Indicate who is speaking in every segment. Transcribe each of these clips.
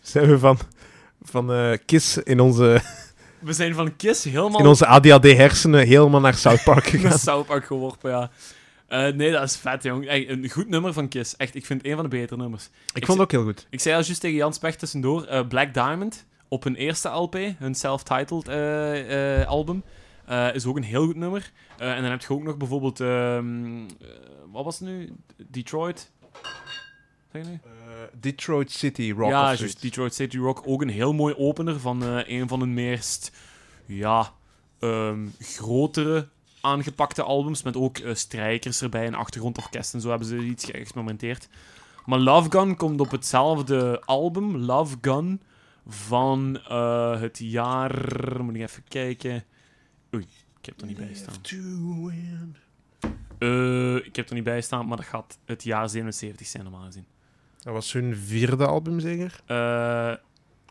Speaker 1: Zijn we van, van eh, Kiss in onze,
Speaker 2: We zijn van Kiss helemaal
Speaker 1: in onze ADHD-hersenen helemaal naar South Park
Speaker 2: naar
Speaker 1: gegaan?
Speaker 2: South Park geworpen, ja. Eh, nee, dat is vet, jong. Echt, een goed nummer van Kiss. Echt, ik vind het een van de betere nummers.
Speaker 1: ik vond het ook heel goed.
Speaker 2: Ik zei al juist tegen Jan Specht tussendoor, eh, Black Diamond, op hun eerste LP, hun self-titled eh, eh, album, eh, is ook een heel goed nummer. Eh, en dan heb je ook nog bijvoorbeeld, ehm, eh, wat was het nu? Detroit? Zeg je nu?
Speaker 1: Eh, Detroit City Rock.
Speaker 2: ja, juist. Detroit City Rock, ook een heel mooi opener van eh, een van hun meest, ja, ehm, grotere aangepakte albums, met ook eh, strijkers erbij en achtergrondorkest en zo hebben ze iets geëxperimenteerd. Maar Love Gun komt op hetzelfde album, Love Gun, van eh, het jaar... Moet ik even kijken... Oei, ik heb er niet bij staan. Eh, ik heb er niet bij staan, maar dat gaat het jaar 77 zijn normaal gezien.
Speaker 1: Dat was hun vierde album, zeker?
Speaker 2: Eh...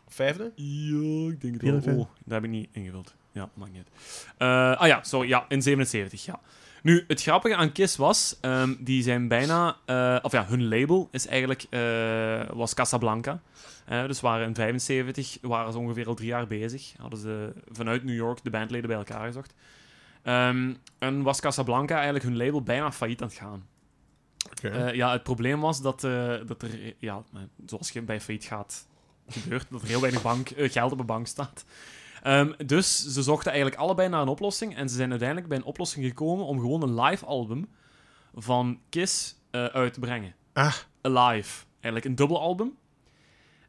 Speaker 1: Vijfde?
Speaker 2: Ja, ik denk het
Speaker 1: Vier en vijf.
Speaker 2: wel. Oh, dat heb ik niet ingevuld. Ja, maakt niet uit. Eh, ah ja, sorry, ja, in 77, ja. Nu, het grappige aan Kiss was, ehm, die zijn bijna... eh, of ja, hun label is eigenlijk, eh, was Casablanca. Eh, dus waren in 75, waren ze ongeveer al drie jaar bezig. Hadden ze vanuit New York de bandleden bij elkaar gezocht. Ehm, en was Casablanca eigenlijk hun label bijna failliet aan het gaan. Eh, ja, het probleem was dat, eh, dat er, eh, ja, eh, zoals je bij failliet gaat, gebeurt, dat er heel weinig bank, eh, geld op een bank staat. Ehm, dus ze zochten eigenlijk allebei naar een oplossing. En ze zijn uiteindelijk bij een oplossing gekomen om gewoon een live album van Kiss eh, uit te brengen.
Speaker 1: Ah.
Speaker 2: Alive. Eigenlijk een dubbel album.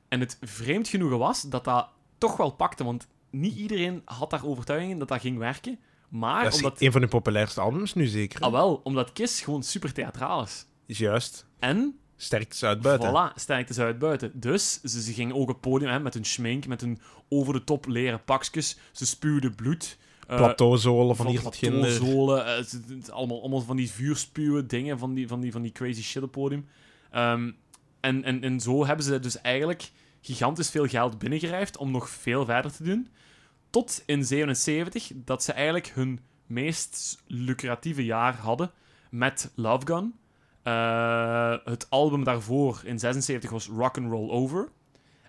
Speaker 2: En het vreemd genoegen was dat dat toch wel pakte. Want niet iedereen had daar overtuiging in dat dat ging werken. Maar
Speaker 1: dat is
Speaker 2: ah, omdat,
Speaker 1: een van hun populairste albums nu, zeker.
Speaker 2: ah, wel, omdat Kiss gewoon super theatraal is.
Speaker 1: Is juist.
Speaker 2: En
Speaker 1: Sterkst uit buiten.
Speaker 2: Voilà, sterkte ze uit buiten. Dus ze, ze gingen ook op het podium hè, met hun schmink, met hun over-de-top leren pakjes. Ze spuwden bloed. eh,
Speaker 1: Plateauzolen van hier tot ginder.
Speaker 2: plateauzolen, eh, ze- het- allemaal, allemaal van die vuurspuwen dingen, van die, van die, van die crazy shit op het podium. Ehm, en, en, en zo hebben ze dus eigenlijk gigantisch veel geld binnengerijfd om nog veel verder te doen. Tot in 77 dat ze eigenlijk hun meest lucratieve jaar hadden met Love Gun. Eh, het album daarvoor in 76 was Rock and Roll Over.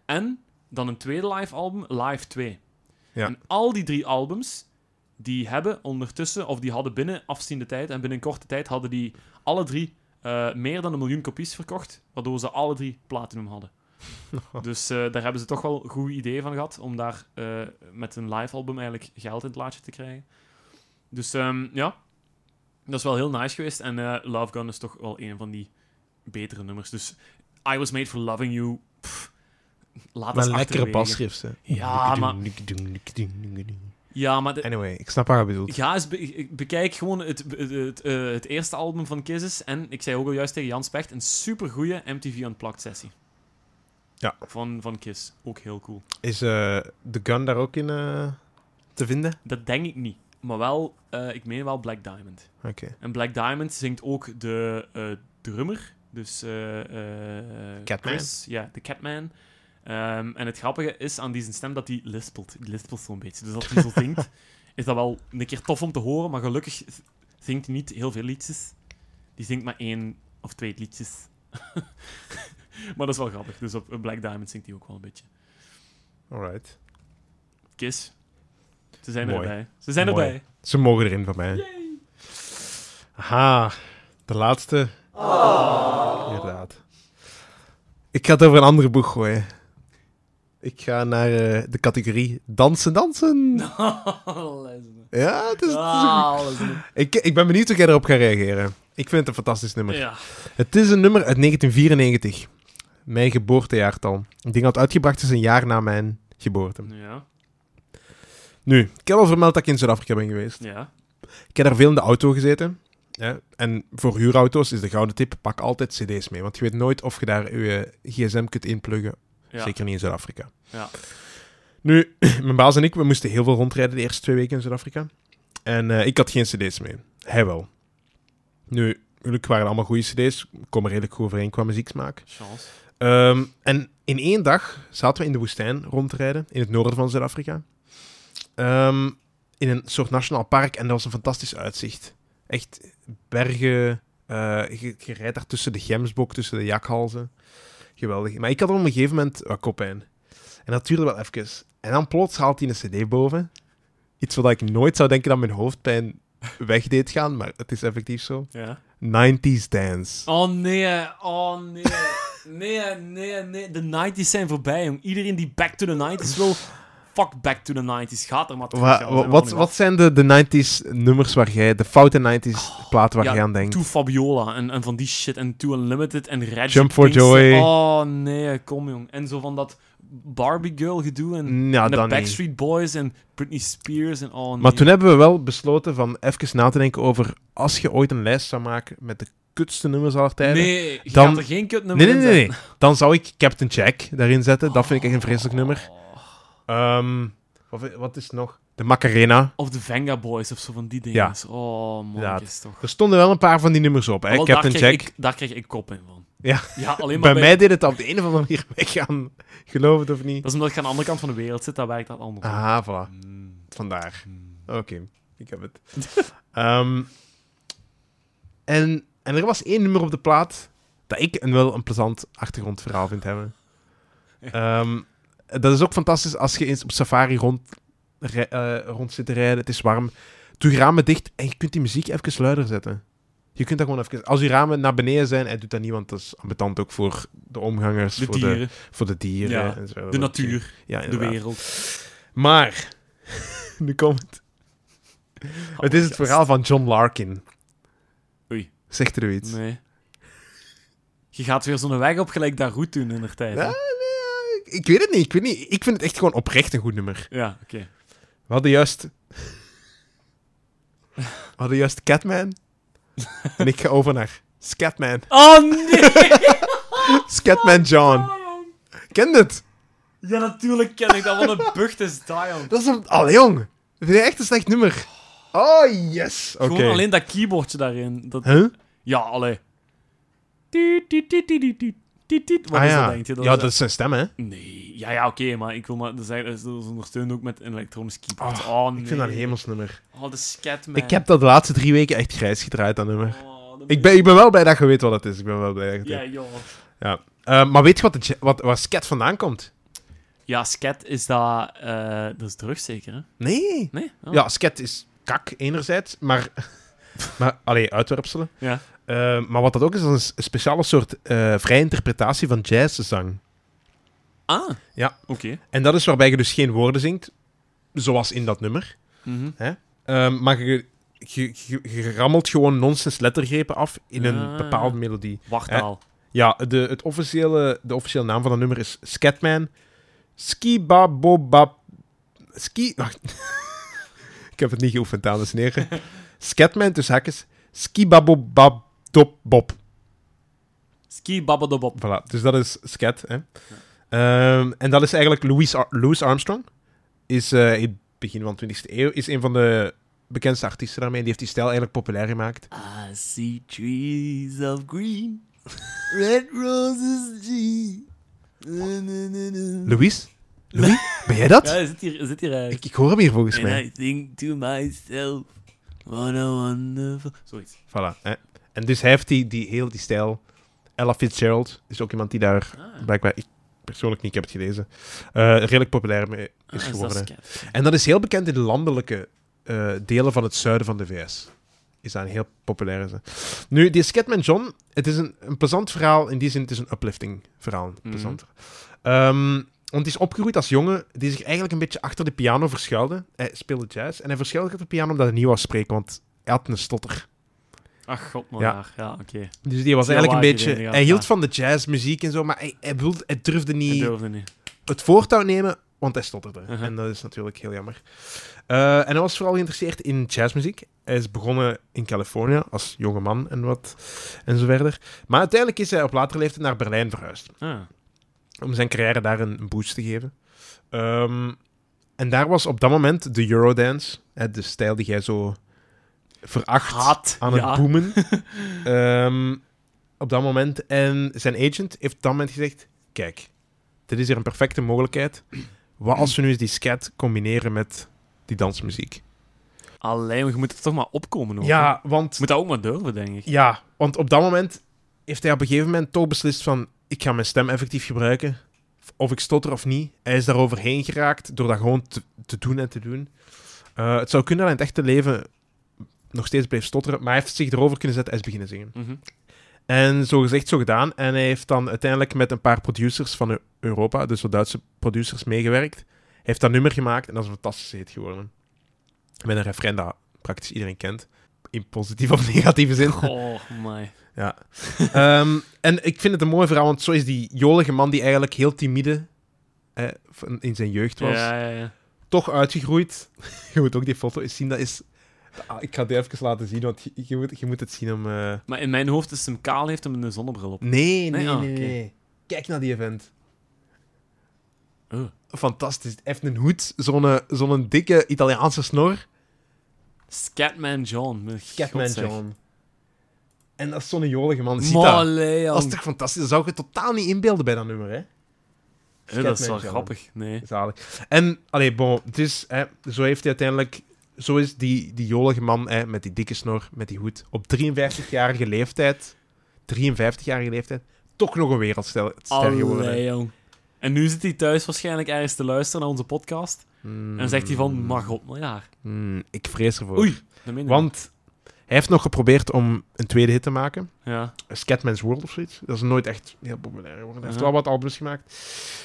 Speaker 2: En dan een tweede live album, Live 2.
Speaker 1: Ja.
Speaker 2: En al die drie albums, die hebben ondertussen, of die hadden binnen afziende tijd en binnen korte tijd, hadden die alle drie eh, meer dan een miljoen kopies verkocht. Waardoor ze alle drie platinum hadden. dus eh, daar hebben ze toch wel een goed idee van gehad om daar eh, met een live album eigenlijk geld in het laadje te krijgen. Dus ehm, ja, dat is wel heel nice geweest. En eh, Love Gun is toch wel een van die betere nummers. Dus I Was Made For Loving You, pff,
Speaker 1: Met een
Speaker 2: laat dat
Speaker 1: lekkere
Speaker 2: achterwege.
Speaker 1: basschriften.
Speaker 2: Ja, maar- Ja, maar de-
Speaker 1: Anyway, ik snap waar je bedoelt.
Speaker 2: Ga eens be- bekijk gewoon het, het, het, eh, het eerste album van Kisses. En ik zei ook al juist tegen Jan Specht, een supergoeie MTV Unplugged sessie.
Speaker 1: Ja.
Speaker 2: Van, van Kiss. Ook heel cool.
Speaker 1: Is eh The Gun daar ook in eh, te vinden?
Speaker 2: Dat denk ik niet. Maar wel, eh, ik meen wel Black Diamond.
Speaker 1: Oké.
Speaker 2: En Black Diamond zingt ook de eh, drummer. Dus eh, eh,
Speaker 1: Catman.
Speaker 2: Chris, ja, de Catman. Ehm, en het grappige is aan die stem dat hij lispelt. Die lispelt zo'n beetje. Dus als hij zo zingt, is dat wel een keer tof om te horen. Maar gelukkig zingt hij niet heel veel liedjes. Die zingt maar één of twee liedjes. maar dat is wel grappig. Dus op Black Diamond zingt hij ook wel een beetje.
Speaker 1: Alright.
Speaker 2: Kiss. Ze zijn
Speaker 1: Mooi.
Speaker 2: erbij. Ze zijn
Speaker 1: Mooi.
Speaker 2: erbij.
Speaker 1: Ze mogen erin van mij. Aha, de laatste. Inderdaad. Ik ga het over een andere boeg gooien. Ik ga naar eh, de categorie dansen, dansen.
Speaker 2: Alles.
Speaker 1: Ja, het is, het is een-
Speaker 2: Alles.
Speaker 1: Ik, ik ben benieuwd hoe jij erop gaat reageren. Ik vind het een fantastisch nummer.
Speaker 2: Ja.
Speaker 1: Het is een nummer uit 1994. Mijn geboortejaartal. Ik denk dat het uitgebracht is een jaar na mijn geboorte.
Speaker 2: Ja.
Speaker 1: Nu, ik heb al vermeld dat ik in Zuid-Afrika ben geweest.
Speaker 2: Ja.
Speaker 1: Ik heb daar veel in de auto gezeten. Hè? En voor huurauto's is de gouden tip, pak altijd cd's mee. Want je weet nooit of je daar je gsm kunt inpluggen.
Speaker 2: Ja.
Speaker 1: Zeker niet in Zuid-Afrika.
Speaker 2: Ja.
Speaker 1: Nu, mijn baas en ik, we moesten heel veel rondrijden de eerste twee weken in Zuid-Afrika. En eh, ik had geen cd's mee. Hij wel. Nu, gelukkig waren het allemaal goede cd's. Ik kom er redelijk goed overeen qua muzieksmaak.
Speaker 2: Chance.
Speaker 1: Ehm, en in één dag zaten we in de woestijn rond te rijden, in het noorden van Zuid-Afrika. Ehm, in een soort nationaal park en dat was een fantastisch uitzicht. Echt bergen, eh, je, je rijdt daar tussen de gemsbok, tussen de jakhalzen. Geweldig. Maar ik had op een gegeven moment wat koppijn. En dat duurde wel even. En dan plots haalt hij een cd boven. Iets wat ik nooit zou denken dat mijn hoofdpijn weg deed gaan, maar het is effectief zo.
Speaker 2: Ja.
Speaker 1: 90s Dance.
Speaker 2: Oh nee, oh nee. Nee, nee, nee. De 90s zijn voorbij, jong. Iedereen die back to the 90s wil, fuck back to the 90s. Gaat er maar terug.
Speaker 1: Wa-
Speaker 2: ja, we
Speaker 1: wa-
Speaker 2: zijn
Speaker 1: wat,
Speaker 2: er
Speaker 1: wat zijn de, de 90s nummers waar jij, de foute 90s platen waar
Speaker 2: Oh, ja,
Speaker 1: jij aan
Speaker 2: nog.
Speaker 1: denkt?
Speaker 2: To Fabiola en, en van die shit. En To Unlimited en Red
Speaker 1: Jump for Joy.
Speaker 2: Oh nee, kom jong. En zo van dat Barbie Girl gedoe en,
Speaker 1: Nou,
Speaker 2: en de
Speaker 1: dan niet.
Speaker 2: Backstreet Boys en Britney Spears en oh nee.
Speaker 1: Maar toen hebben we wel besloten van even na te denken over als je ooit een lijst zou maken met de kutste nummers aller tijden.
Speaker 2: Nee, je
Speaker 1: dan-
Speaker 2: gaat er geen kut nummer
Speaker 1: nee, nee, nee, nee. Dan zou ik Captain Jack daarin zetten. Dat vind ik echt een vreselijk nummer.
Speaker 2: Oh.
Speaker 1: Ehm, wat, wat is het nog? De Macarena.
Speaker 2: Of de Venga Boys of zo van die dingen.
Speaker 1: Ja.
Speaker 2: Oh man,
Speaker 1: Inderdaad.
Speaker 2: is toch.
Speaker 1: Er stonden wel een paar van die nummers op. Hè?
Speaker 2: Wel,
Speaker 1: Captain
Speaker 2: daar kreeg
Speaker 1: Jack.
Speaker 2: Ik, daar kreeg ik kop in van.
Speaker 1: Ja.
Speaker 2: Ja, alleen maar
Speaker 1: bij
Speaker 2: bij-
Speaker 1: mij deed het op de een of andere manier weggaan. Geloof het of niet.
Speaker 2: Dat is omdat ik aan de andere kant van de wereld zit, daar werkt dat anders.
Speaker 1: Ah, voilà.
Speaker 2: Mm,
Speaker 1: Vandaar.
Speaker 2: mm.
Speaker 1: Oké, ik heb het. Ehm, en, en er was één nummer op de plaat dat ik een, wel een plezant achtergrondverhaal vind hebben. Ehm, dat is ook fantastisch als je eens op safari rond, rij- eh, rond zit te rijden. Het is warm. Doe je ramen dicht en je kunt die muziek even luider zetten. Je kunt dat gewoon even... Als je ramen naar beneden zijn, en doet dat niet, want dat is ambetant ook voor de omgangers,
Speaker 2: De
Speaker 1: voor, De,
Speaker 2: dieren,
Speaker 1: voor de dieren.
Speaker 2: Ja,
Speaker 1: en zo.
Speaker 2: de natuur,
Speaker 1: Ja,
Speaker 2: de
Speaker 1: inderdaad.
Speaker 2: wereld.
Speaker 1: Maar, nu komt het. het is het verhaal van John Larkin.
Speaker 2: Oh, Oei.
Speaker 1: Zegt er u iets?
Speaker 2: Nee. Je gaat weer zo'n weg op gelijk daar goed doen in de tijd. hè?
Speaker 1: Ja, nee, ik- ik weet het niet. Ik, weet niet. ik vind het echt gewoon oprecht een goed nummer.
Speaker 2: Ja, oké.
Speaker 1: We hadden juist... We hadden juist Catman. en ik ga over naar Scatman.
Speaker 2: Oh nee!
Speaker 1: Scatman John. Ken dit?
Speaker 2: Ja, natuurlijk ken ik dat. Wat een bucht is dat, jong.
Speaker 1: Dat is een... Allee, jong. Dat vind je echt een slecht nummer. Oh, yes. Oké.
Speaker 2: Gewoon alleen dat keyboardje daarin. Dat...
Speaker 1: Huh?
Speaker 2: Ja, allee. Tiet, tiet, tiet, tiet, tiet, tiet, tiet. Wat
Speaker 1: Ah
Speaker 2: is dat,
Speaker 1: ja.
Speaker 2: denk je?
Speaker 1: ja, dat is zijn stem, hè.
Speaker 2: Nee. Ja, ja, oké, maar ik wil maar... Dat is eigenlijk- dat is ondersteund ook met een elektronisch keyboard.
Speaker 1: Oh,
Speaker 2: Oh, nee.
Speaker 1: Ik vind dat een hemelsnummer.
Speaker 2: Oh, de Scatman.
Speaker 1: Ik heb dat de laatste drie weken echt grijs gedraaid, dat nummer.
Speaker 2: Oh, dat
Speaker 1: Ik ben, ik ben wel blij dat je weet wat het is. Ik ben wel blij dat je het
Speaker 2: Ja,
Speaker 1: weet.
Speaker 2: joh.
Speaker 1: Eh, maar weet je wat, het, wat waar Scat vandaan komt?
Speaker 2: Ja, scat is dat... eh, dat is drugs zeker, hè?
Speaker 1: Nee.
Speaker 2: Nee? Oh.
Speaker 1: Ja, Scat is kak, enerzijds. Maar... maar allee, uitwerpselen.
Speaker 2: Ja.
Speaker 1: Eh, maar wat dat ook is, dat is een speciale soort eh, vrije interpretatie van jazzzang.
Speaker 2: Ah.
Speaker 1: Ja.
Speaker 2: Oké.
Speaker 1: En dat is waarbij je dus geen woorden zingt, zoals in dat nummer.
Speaker 2: Mhm.
Speaker 1: Ehm, maar je, je, je, je rammelt gewoon nonsens lettergrepen af in een
Speaker 2: Ah.
Speaker 1: bepaalde melodie.
Speaker 2: Wachtaal.
Speaker 1: Ja, de, het officiële, de officiële naam van dat nummer is Scatman. Skibabobab... Ski... Wacht. Ik heb het niet geoefend, dames en heren. Scatman, tussen haakjes. Skibabobabdopbob.
Speaker 2: Ski babbadobob.
Speaker 1: Voilà, dus dat is Scat, hè. Ehm, en dat is eigenlijk Louis, Ar- Louis Armstrong. Is eh, in het begin van de 20e eeuw is een van de bekendste artiesten daarmee. Die heeft die stijl eigenlijk populair gemaakt.
Speaker 2: I see trees of green, red roses G.
Speaker 1: Louis? Louis? Ben jij dat?
Speaker 2: Ja, hij zit hier, hij zit hier eigenlijk.
Speaker 1: Ik, ik hoor hem hier volgens mij.
Speaker 2: And I think to myself, what a wonderful... Zoiets.
Speaker 1: Voilà. Hè. En dus hij heeft die, die heel die stijl. Ella Fitzgerald is ook iemand die daar
Speaker 2: Ah,
Speaker 1: blijkbaar, ik persoonlijk niet, ik heb het gelezen, eh, redelijk populair mee
Speaker 2: ah,
Speaker 1: is
Speaker 2: dat
Speaker 1: geworden.
Speaker 2: scat?
Speaker 1: en dat is heel bekend in de landelijke eh, delen van het zuiden van de VS. Is dat een heel populaire. ze. Nu, die Scatman John, het is een, een plezant verhaal. In die zin, het is een uplifting verhaal. een
Speaker 2: Mhm.
Speaker 1: Plezant. Ehm, want hij is opgegroeid als jongen die zich eigenlijk een beetje achter de piano verschuilde. Hij speelde jazz en hij verschuilde zich achter de piano omdat hij niet wou spreken, want hij had een stotter.
Speaker 2: Ach, god, maar
Speaker 1: Ja.
Speaker 2: ja, ja oké.
Speaker 1: Dus die was
Speaker 2: Heel
Speaker 1: eigenlijk een
Speaker 2: laag
Speaker 1: beetje...
Speaker 2: gereden, ja.
Speaker 1: Hij hield
Speaker 2: Ja.
Speaker 1: van de jazzmuziek en zo, maar hij, hij, wilde, hij durfde
Speaker 2: Ik
Speaker 1: niet
Speaker 2: durfde niet.
Speaker 1: het voortouw nemen, want hij stotterde.
Speaker 2: Uh-huh.
Speaker 1: En dat is natuurlijk heel jammer. Eh, en hij was vooral geïnteresseerd in jazzmuziek. Hij is begonnen in Californië als jonge man en wat en zo verder. Maar uiteindelijk is hij op latere leeftijd naar Berlijn verhuisd.
Speaker 2: Ah.
Speaker 1: Om zijn carrière daar een een boost te geven. Ehm, en daar was op dat moment de Eurodance, hè, de stijl die jij zo veracht
Speaker 2: Haat.
Speaker 1: aan het
Speaker 2: ja.
Speaker 1: boomen. Ehm, op dat moment. En zijn agent heeft op dat moment gezegd: Kijk, dit is hier een perfecte mogelijkheid. Wat als we nu eens die scat combineren met die dansmuziek?
Speaker 2: Alleen, je moet er toch maar opkomen hoor. Je
Speaker 1: Ja, want,
Speaker 2: moet dat ook maar durven, denk ik.
Speaker 1: ja, want op dat moment heeft hij op een gegeven moment toch beslist van... Ik ga mijn stem effectief gebruiken. of ik stotter of niet, hij is daar overheen geraakt door dat gewoon te, te doen en te doen. Eh, het zou kunnen dat hij in het echte leven nog steeds bleef stotteren, maar hij heeft zich erover kunnen zetten en is beginnen zingen.
Speaker 2: Mhm.
Speaker 1: En zo gezegd, zo gedaan. En hij heeft dan uiteindelijk met een paar producers van Eu- Europa, dus wat Duitse producers, meegewerkt. Hij heeft dat nummer gemaakt en dat is een fantastische hit geworden. Met een refrein dat praktisch iedereen kent. In positieve of negatieve zin.
Speaker 2: Oh, my.
Speaker 1: Ja. Ehm, en ik vind het een mooi verhaal, want zo is die jolige man die eigenlijk heel timide eh, van- in zijn jeugd was,
Speaker 2: Ja, ja, ja.
Speaker 1: toch uitgegroeid. je moet ook die foto eens zien, dat is... Ah, Ik ga het even laten zien, want je, je moet, je moet het zien om... eh,
Speaker 2: Maar in mijn hoofd is hem kaal, heeft hem een zonnebril op.
Speaker 1: Nee, nee, nee.
Speaker 2: Nee? Ah,
Speaker 1: nee,
Speaker 2: oké.
Speaker 1: nee. Kijk naar die event.
Speaker 2: Oh.
Speaker 1: Fantastisch. Hij heeft een hoed, zo'n eh, zo'n dikke Italiaanse snor.
Speaker 2: Scatman John. mijn
Speaker 1: Catman
Speaker 2: god, zeg.
Speaker 1: John. En dat is zo'n jolige man. Ziet dat?
Speaker 2: Molle, Jan.
Speaker 1: dat is toch fantastisch? Dat zou je totaal niet inbeelden bij dat nummer, hè?
Speaker 2: Eh, dat is wel
Speaker 1: Scatman John.
Speaker 2: grappig. Nee.
Speaker 1: Zalig. En, allee, bon, het is, hè, zo heeft hij uiteindelijk... Zo is die, die jolige man hè, met die dikke snor, met die hoed, op 53-jarige leeftijd, 53-jarige leeftijd, toch nog een wereldster ster geworden.
Speaker 2: Allee, jong. En nu zit hij thuis waarschijnlijk ergens te luisteren naar onze podcast.
Speaker 1: Mm.
Speaker 2: En zegt hij van, mag god, miljaar.
Speaker 1: Mm, ik vrees ervoor.
Speaker 2: Oei, dat meen ik niet.
Speaker 1: Want hij heeft nog geprobeerd om een tweede hit te maken.
Speaker 2: Ja.
Speaker 1: Scatman's World of zoiets. Dat is nooit echt heel populair geworden. Hij heeft
Speaker 2: Aha.
Speaker 1: wel wat albums gemaakt.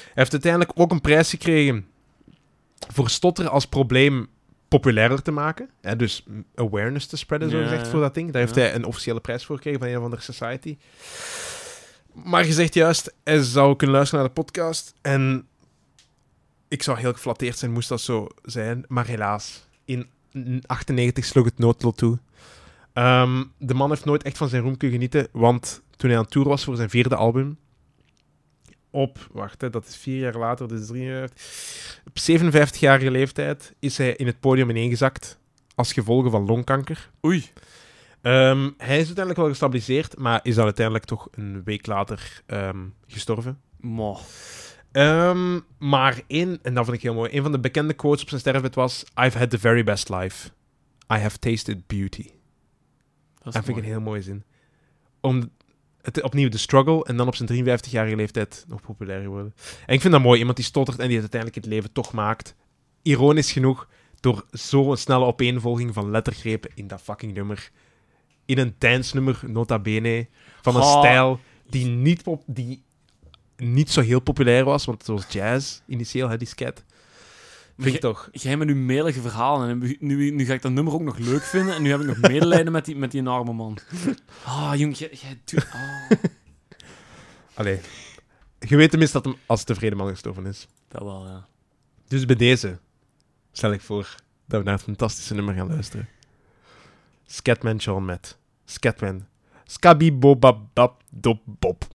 Speaker 1: Hij heeft uiteindelijk ook een prijs gekregen voor stotteren als probleem populairder te maken. Hè, dus awareness te spreaden, zo
Speaker 2: Ja,
Speaker 1: gezegd,
Speaker 2: ja.
Speaker 1: voor dat ding. Daar heeft
Speaker 2: Ja.
Speaker 1: hij een officiële prijs voor gekregen van een of andere society. Maar je zegt juist, hij zou kunnen luisteren naar de podcast. En ik zou heel geflatteerd zijn, moest dat zo zijn. Maar helaas, in 98 sloeg het noodlot toe. Ehm, de man heeft nooit echt van zijn roem kunnen genieten, want toen hij aan tour was voor zijn vierde album, op, wacht, hè, dat is vier jaar later, dus drie jaar, op 57-jarige leeftijd is hij in het podium ineengezakt als gevolg van longkanker.
Speaker 2: Oei.
Speaker 1: Ehm, hij is uiteindelijk wel gestabiliseerd, maar is dan uiteindelijk toch een week later ehm, gestorven.
Speaker 2: Mo.
Speaker 1: Ehm, maar één, en dat vond ik heel mooi, een van de bekende quotes op zijn sterfbed was: I've had the very best life. I have tasted beauty.
Speaker 2: Dat is
Speaker 1: Dat vind ik
Speaker 2: mooi.
Speaker 1: een heel mooie zin. Om het, opnieuw de struggle en dan op zijn 53-jarige leeftijd nog populair worden. En ik vind dat mooi. Iemand die stottert en die het uiteindelijk het leven toch maakt. Ironisch genoeg, door zo'n snelle opeenvolging van lettergrepen in dat fucking nummer. In een dansnummer, nota bene. Van een
Speaker 2: Oh.
Speaker 1: stijl die niet, pop, die niet zo heel populair was. Want het was jazz initieel, hè, die scat.
Speaker 2: Maar
Speaker 1: Vind ik toch.
Speaker 2: Jij met uw melige verhalen. En nu, nu, nu ga ik dat nummer ook nog leuk vinden. En nu heb ik nog medelijden met die, met die arme man. Ah, jong, jij, jij doet... ah,
Speaker 1: Allee. Je weet tenminste dat hem als tevreden man gestorven is.
Speaker 2: dat wel, ja.
Speaker 1: Dus bij deze stel ik voor dat we naar het fantastische nummer gaan luisteren. Scatman John met Scatman. Scabby Bobabab Dob Bob.